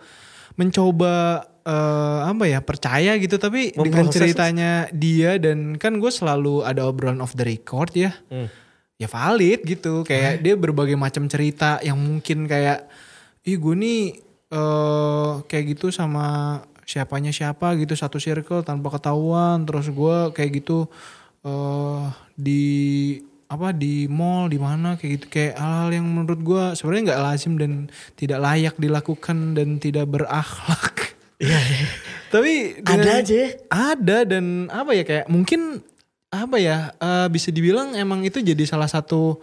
S4: mencoba eh, apa ya percaya gitu tapi dengan
S3: Memproses.
S4: ceritanya dia dan kan gue selalu ada obrolan off the record ya.
S3: Hmm.
S4: ya valid gitu kayak dia berbagai macam cerita yang mungkin kayak ih gue nih eh kayak gitu sama siapanya siapa gitu satu circle tanpa ketahuan terus gua kayak gitu eh di apa di mall di mana kayak gitu kayak hal-hal yang menurut gua sebenarnya nggak lazim dan tidak layak dilakukan dan tidak berakhlak
S3: Iya, iya.
S4: tapi
S3: Ada
S4: dengan-
S3: aja ya.
S4: ada dan apa ya kayak mungkin apa ya eh, bisa dibilang emang itu jadi salah satu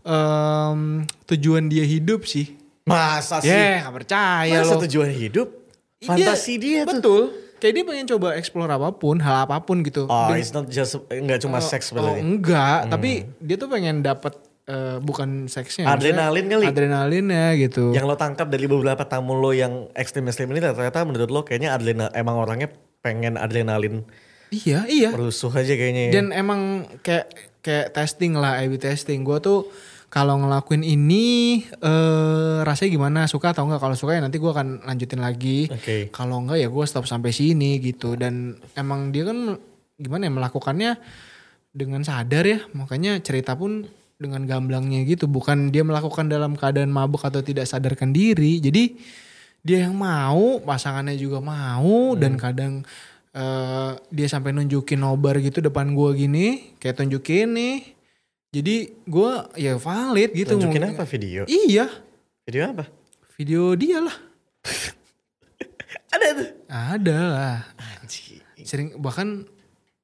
S4: em, tujuan dia hidup sih.
S3: Masa sih?
S4: Ya gak percaya
S3: Masa
S4: loh.
S3: tujuan hidup? Fantasi dia, tuh.
S4: Betul. Kayak dia pengen coba explore apapun, hal apapun gitu.
S3: Oh,
S4: Dan-
S3: it's Hmm. not just, gak
S4: oh,
S3: cuma seks
S4: oh,
S3: sebenarnya.
S4: enggak, tapi dia tuh pengen dapat eh, bukan seksnya.
S3: Adrenalin kali.
S4: Adrenalinnya gitu.
S3: Yang lo tangkap dari beberapa tamu lo yang ekstrim-ekstrim ini ternyata menurut lo kayaknya adrenal, emang orangnya pengen adrenalin
S4: iya, iya.
S3: merusuh aja kayaknya. ya.
S4: Dan emang kayak kayak testing lah, A/B testing. Gue tuh kalau ngelakuin ini eh rasanya gimana? Suka atau enggak? Kalau suka ya nanti gue akan lanjutin lagi.
S3: Oke.
S4: Kalau enggak ya gue stop sampai sini gitu. Dan emang dia kan gimana ya melakukannya dengan sadar ya. Makanya cerita pun dengan gamblangnya gitu. Bukan dia melakukan dalam keadaan mabuk atau tidak sadarkan diri. Jadi dia yang mau, pasangannya juga
S3: Hmm.
S4: mau dan kadang eh, dia sampai nunjukin nobar gitu depan gua gini, kayak tunjukin nih. Jadi gua ya valid gitu mau-
S3: Tunjukin apa video?
S4: Iya,
S3: Video apa?
S4: video dia lah.
S3: Ada tuh.
S4: Ada lah. Sering bahkan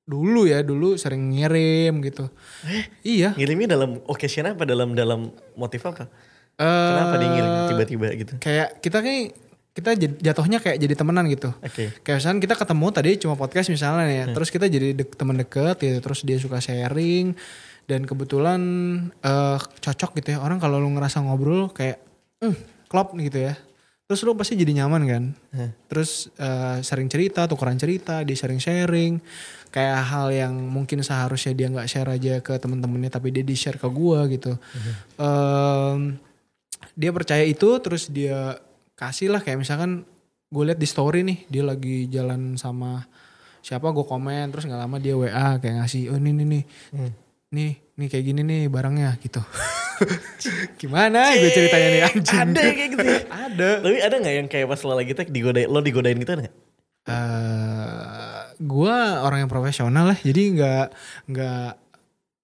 S4: dulu ya, dulu sering ngirim gitu.
S3: Eh?
S4: Iya.
S3: Ngirimnya dalam occasion apa? Dalam dalam motif apa? Kenapa
S4: Eh,
S3: dia ngirim tiba-tiba gitu?
S4: Kayak kita kayak kita jad- jatuhnya kayak jadi temenan gitu.
S3: Oke. Hmm.
S4: Kayak misalnya kita ketemu tadi cuma podcast misalnya ya, terus kita jadi dek, teman deket gitu, terus dia suka sharing dan kebetulan eh, cocok gitu ya orang kalau lu ngerasa ngobrol kayak hmm, klop gitu ya. Terus lu pasti jadi nyaman kan.
S3: Hmm.
S4: Terus eh, sering cerita, tukeran cerita, dia sering sharing kayak hal yang mungkin seharusnya dia nggak share aja ke temen-temennya tapi dia di share ke gua gitu.
S3: Hmm.
S4: Em, dia percaya itu terus dia kasih lah kayak misalkan gue liat di story nih dia lagi jalan sama siapa gue komen terus nggak lama dia wa kayak ngasih oh ini nih nih nih nih kayak gini nih barangnya gitu gimana gue ceritanya nih anjing
S3: Eh, Ada yang kayak gitu. ya?
S4: ada
S3: Tapi ada nggak yang kayak pas lo lagi tag digodain, lo digodain gitu nggak?
S4: eh gue orang yang profesional lah jadi nggak nggak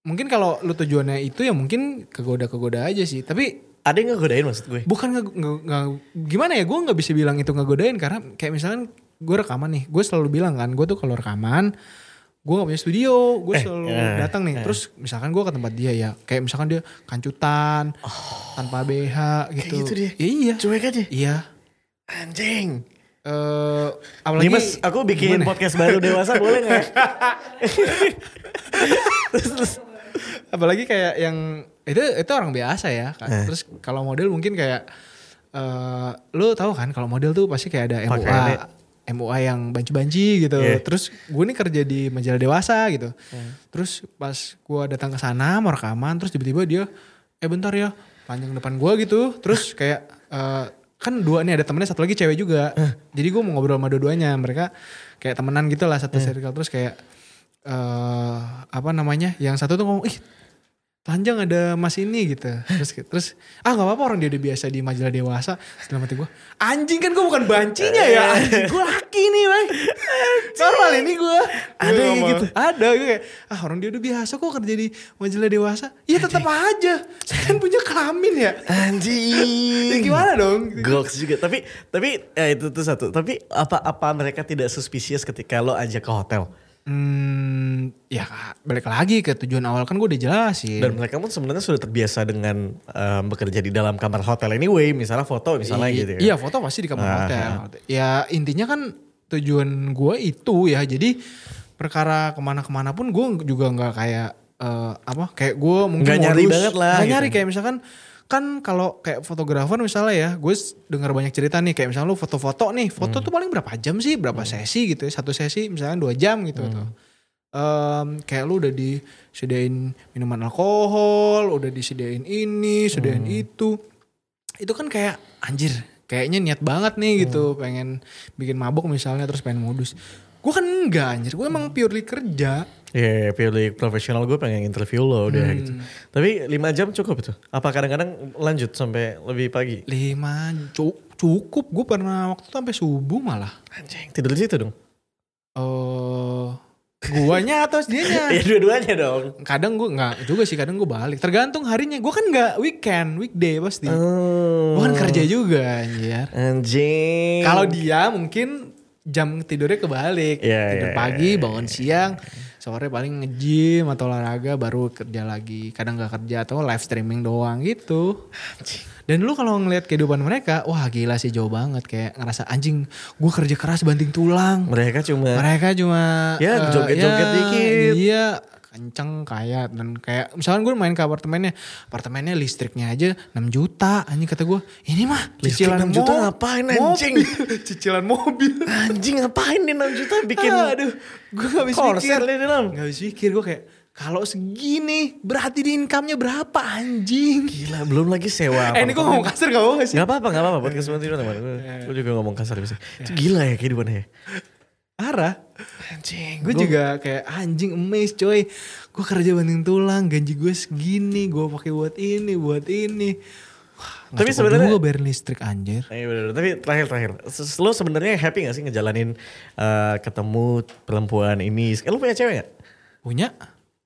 S4: mungkin kalau lu tujuannya itu ya mungkin kegoda kegoda aja sih tapi
S3: Ada yang ngegodain maksud gue.
S4: bukan nge, nge- nge- gimana ya gue nggak bisa bilang itu ngegodain karena kayak misalkan gue rekaman nih gue selalu bilang kan gue tuh kalau rekaman gue gak punya studio gue selalu
S3: eh,
S4: datang nih terus misalkan gue ke tempat dia ya kayak misalkan dia kancutan tanpa BH gitu,
S3: Oh. gitu dia.
S4: Ya, iya
S3: Cuek aja.
S4: iya
S3: Anjing.
S4: Eh, apalagi
S3: Dimas, aku bikin
S4: gimana?
S3: podcast baru dewasa boleh gak? terus, terus.
S4: apalagi kayak yang itu itu orang biasa ya kan. terus kalau model mungkin kayak eh lu tahu kan kalau model tuh pasti kayak ada MUA
S3: Pakaiannya.
S4: MUA yang banci-banci gitu
S3: Iya.
S4: terus gue nih kerja di majalah dewasa gitu terus pas gue datang ke sana mau rekaman terus tiba-tiba dia eh bentar ya panjang depan gue gitu terus kayak eh, kan dua nih ada temennya satu lagi cewek juga jadi gue mau ngobrol sama dua-duanya mereka kayak temenan gitu lah satu circle terus kayak eh apa namanya yang satu tuh ngomong ih panjang ada mas ini gitu terus terus ah nggak apa-apa orang dia udah biasa di majalah dewasa dalam hati gue anjing kan gue bukan bancinya
S3: Eh.
S4: ya anjing gue laki nih bang normal ini gue
S3: Ada yang gitu?
S4: ada gue kayak ah orang dia udah biasa kok kerja di majalah dewasa ya tetap aja saya kan punya kelamin ya Ya
S3: Anjing.
S4: gimana dong
S3: Goks juga. Tapi tapi ya itu tuh satu. Tapi apa apa mereka tidak suspicious ketika lo ajak ke hotel?
S4: hmm, ya balik lagi ke tujuan awal kan gue udah jelasin
S3: Dan mereka pun sebenarnya sudah terbiasa dengan em, bekerja di dalam kamar hotel anyway, misalnya foto misalnya
S4: I-
S3: gitu ya.
S4: Iya foto pasti di kamar
S3: Ah.
S4: hotel. Ya intinya kan tujuan gue itu ya jadi perkara kemana-kemana pun gue juga nggak kayak eh, apa kayak gue mungkin
S3: Nggak nyari
S4: modus.
S3: banget lah,
S4: Nggak
S3: gitu.
S4: nyari kayak misalkan kan kalau kayak fotografer misalnya ya gue s- dengar banyak cerita nih kayak misalnya lu foto-foto nih foto
S3: Hmm.
S4: tuh paling berapa jam sih berapa sesi gitu ya satu sesi misalnya dua jam gitu
S3: Hmm.
S4: tuh. Em, kayak lu udah disediain minuman alkohol, udah disediain ini, sediain
S3: Hmm.
S4: itu itu kan kayak anjir kayaknya niat banget nih
S3: Hmm.
S4: gitu pengen bikin mabok misalnya terus pengen modus gue kan enggak anjir gue emang purely kerja
S3: Iya, purely profesional gue pengen interview lo udah
S4: Hmm.
S3: gitu. Tapi 5 jam cukup tuh. Apa kadang-kadang lanjut sampai lebih pagi?
S4: lima cu- cukup gue pernah waktu itu sampai subuh malah
S3: Anjing, tidur di situ dong.
S4: eh guanya atau
S3: Ya
S4: dianya
S3: dua-duanya dong.
S4: kadang gue nggak juga sih kadang gue balik tergantung harinya gue kan nggak weekend weekday pasti Gua
S3: Oh.
S4: kan kerja juga anjir
S3: Anjing.
S4: Kalau dia mungkin jam tidurnya kebalik.
S3: Iya,
S4: Tidur
S3: iya,
S4: pagi, bangun siang, sore paling nge-gym atau olahraga baru kerja lagi. Kadang gak kerja atau live streaming doang gitu. Dan lu kalau ngelihat kehidupan mereka, wah gila sih jauh banget kayak ngerasa anjing gue kerja keras banting tulang.
S3: mereka cuma
S4: Mereka cuma
S3: Ya,
S4: eh,
S3: joget-joget
S4: ya,
S3: dikit.
S4: Iya, kenceng kaya dan kayak misalkan gue main ke apartemennya, apartemennya listriknya aja 6 juta. Anjing kata gue, ini mah
S3: Listrik
S4: cicilan
S3: 6 juta
S4: mo-
S3: ngapain,
S4: mobil."
S3: anjing?
S4: cicilan mobil.
S3: anjing ngapain nih 6 juta bikin
S4: Aduh, gue gak bisa mikir.
S3: Korset dia di dalam.
S4: Gak bisa mikir gue kayak kalau segini berarti di income-nya berapa anjing?
S3: Gila, belum lagi sewa.
S4: Eh ini gue ngomong kasar Iya. gak mau gak sih?
S3: Gak apa-apa, gak apa-apa. Podcast bantu teman. Gue- Gue juga ngomong kasar bisa.
S4: Iya.
S3: Itu gila ya kehidupannya.
S4: Arah.
S3: Anjing.
S4: Gue juga kayak anjing amazed coy. Gue kerja banting tulang, gaji gue segini, gue pakai buat ini, buat ini. Wah,
S3: Tapi sebenarnya-
S4: gue bayar listrik anjir.
S3: Iya bener, tapi terakhir-terakhir. s- Lo sebenarnya happy gak sih ngejalanin eh, ketemu perempuan ini? Eh, lo punya cewek gak?
S4: Punya?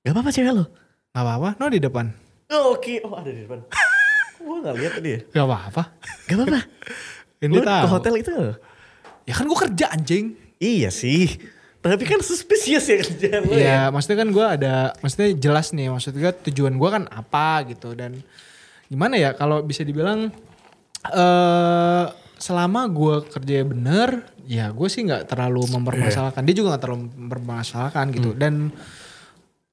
S3: Gak apa-apa cewek lo.
S4: Gak apa-apa, no di depan.
S3: Oh, Oke, oh ada di depan. Gue gak lihat tadi ya.
S4: Gak apa-apa.
S3: Gak apa-apa.
S4: Ini
S3: Lo
S4: tahu.
S3: ke hotel itu gak?
S4: Ya kan gue kerja anjing.
S3: Iya sih. Tapi kan suspicious ya kerjaan lo ya.
S4: Iya, maksudnya kan gue ada, maksudnya jelas nih, maksud gue tujuan gue kan apa gitu dan gimana ya kalau bisa dibilang eh selama gue kerja bener, ya gue sih nggak terlalu mempermasalahkan. Dia juga nggak terlalu mempermasalahkan gitu dan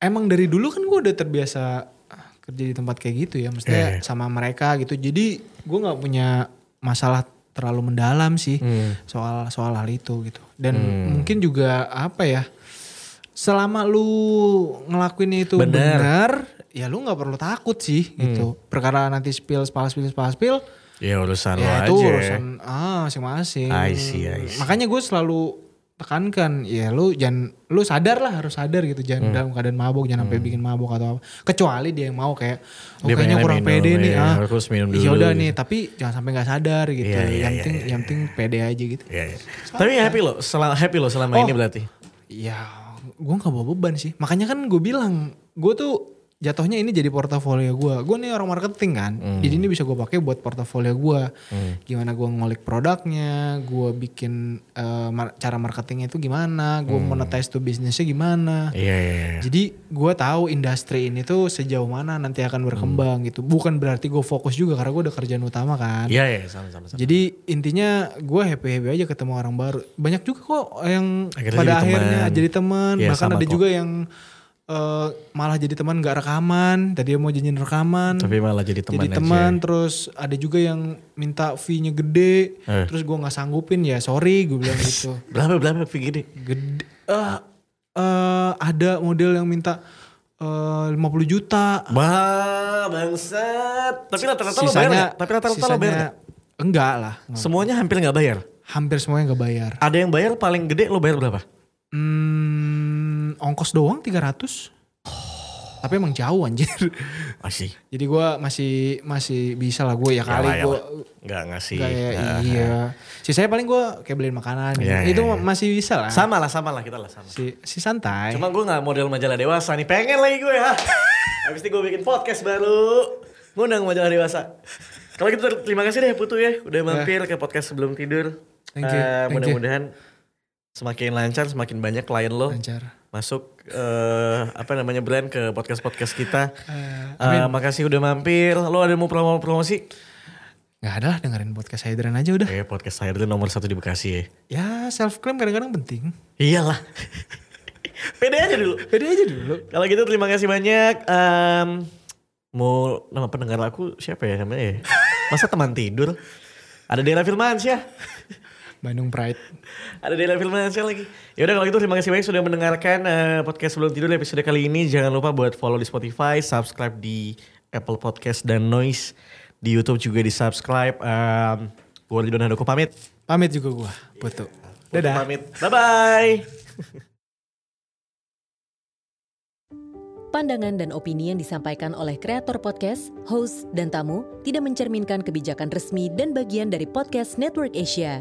S4: emang dari dulu kan gue udah terbiasa ah, kerja di tempat kayak gitu ya, maksudnya sama mereka gitu. Jadi gue nggak punya masalah terlalu mendalam sih soal soal hal itu gitu. Dan mungkin juga apa ya? selama lu ngelakuin itu
S3: Bener. Hmm.
S4: benar ya lu nggak perlu takut sih gitu perkara nanti spill spill spill spill spill
S3: Ya urusan
S4: ya
S3: lo
S4: itu
S3: aja.
S4: urusan ah masing-masing
S3: I see, I see.
S4: makanya gue selalu tekankan ya lu jangan lu sadar lah harus sadar gitu
S3: Hmm.
S4: jangan dalam keadaan mabok jangan sampai bikin mabok atau apa kecuali dia yang mau kayak oh, kayaknya
S3: Dia pengennya
S4: kurang
S3: minum,
S4: pede nih
S3: ya,
S4: ah
S3: harus minum dulu
S4: ya udah
S3: gitu.
S4: nih tapi jangan sampai nggak sadar gitu
S3: Iya, iya,
S4: yang
S3: iya,
S4: penting
S3: iya.
S4: yang penting pede aja gitu
S3: Iya, iya. Tapi happy lo, selama, happy lo selama
S4: Oh.
S3: ini berarti.
S4: Ya, gue gak bawa beban sih. Makanya kan gue bilang, gue tuh jatuhnya ini jadi portofolio gue. Gue nih orang marketing kan, jadi ini bisa gue pakai buat portofolio gue. Gimana gue ngolik produknya, gue bikin eh, mar- cara marketingnya itu gimana, gue monetize tuh bisnisnya gimana.
S3: Iya, iya, iya.
S4: Jadi gue tahu industri ini tuh sejauh mana nanti akan berkembang gitu. Bukan berarti gue fokus juga karena gue ada kerjaan utama kan.
S3: Iya, iya, sama, sama, sama.
S4: Jadi intinya gue happy happy aja ketemu orang baru. Banyak juga kok yang
S3: Akhirnya
S4: pada
S3: jadi
S4: akhirnya
S3: teman.
S4: jadi teman.
S3: Iya,
S4: Bahkan
S3: sama
S4: ada
S3: kok.
S4: juga yang eh, malah jadi teman gak rekaman. Tadi dia mau janjiin rekaman.
S3: Tapi malah jadi teman
S4: jadi
S3: aja.
S4: teman terus ada juga yang minta fee-nya gede.
S3: Eh.
S4: Terus gue nggak sanggupin ya sorry gue bilang gitu.
S3: Berapa berapa gini?
S4: Gede. eh, eh, ada model yang minta eh, 50 juta.
S3: Wah, bangsat. Tapi rata-rata lo bayar
S4: Sisanya,
S3: nggak? Tapi rata-rata lo bayar
S4: sisanya- hmm.
S3: nggak?
S4: Enggak lah.
S3: Semuanya hampir nggak bayar.
S4: Hampir semuanya gak bayar.
S3: Ada yang bayar paling gede lo bayar berapa?
S4: Hmm, ongkos doang 300. Tapi emang jauh anjir. Ah,
S3: Masih.
S4: Jadi gua masih masih bisa lah gue ya kali
S3: Yalah,
S4: gue
S3: yalah. Nggak ngasih.
S4: kayak
S3: Nah.
S4: iya. Sisanya paling gua kayak beliin makanan gitu.
S3: Iya, iya,
S4: Itu
S3: iya.
S4: masih bisa lah.
S3: Sama lah, sama lah kita lah sama.
S4: si, si santai.
S3: Cuma gue nggak model majalah dewasa nih. Pengen lagi gue ya. Habis itu gue bikin podcast baru. Ngundang majalah dewasa. Kalau gitu terima kasih deh Putu ya. Udah mampir ke podcast sebelum tidur.
S4: Iya. Thank you,
S3: Eh,
S4: thank you.
S3: Mudah-mudahan semakin lancar, semakin banyak klien lo.
S4: lancar.
S3: Masuk eh, apa namanya brand ke podcast-podcast kita.
S4: Eh,
S3: Eh, makasih udah mampir. Lo ada mau promo-promosi?
S4: nggak ada lah dengerin podcast Hydran aja udah.
S3: Eh podcast saya dulu nomor satu di Bekasi ya.
S4: Ya self claim kadang-kadang penting.
S3: Iyalah. Pede aja dulu.
S4: Beda aja dulu.
S3: Kalau gitu terima kasih banyak. Em, mau nama pendengar aku siapa ya namanya ya? Masa teman tidur? Ada Dela Firmansyah.
S4: Bandung Pride.
S3: Ada Dela Firmansyah lagi. Ya udah kalau gitu terima kasih banyak sudah mendengarkan eh, podcast sebelum tidur episode kali ini. Jangan lupa buat follow di Spotify, subscribe di Apple Podcast dan Noise di YouTube juga di subscribe. Em, gue Lidon Handoko pamit.
S4: Pamit juga gua, Putu. Dadah.
S3: Pamit. Bye bye.
S5: Pandangan dan opini yang disampaikan oleh kreator podcast, host, dan tamu tidak mencerminkan kebijakan resmi dan bagian dari podcast Network Asia.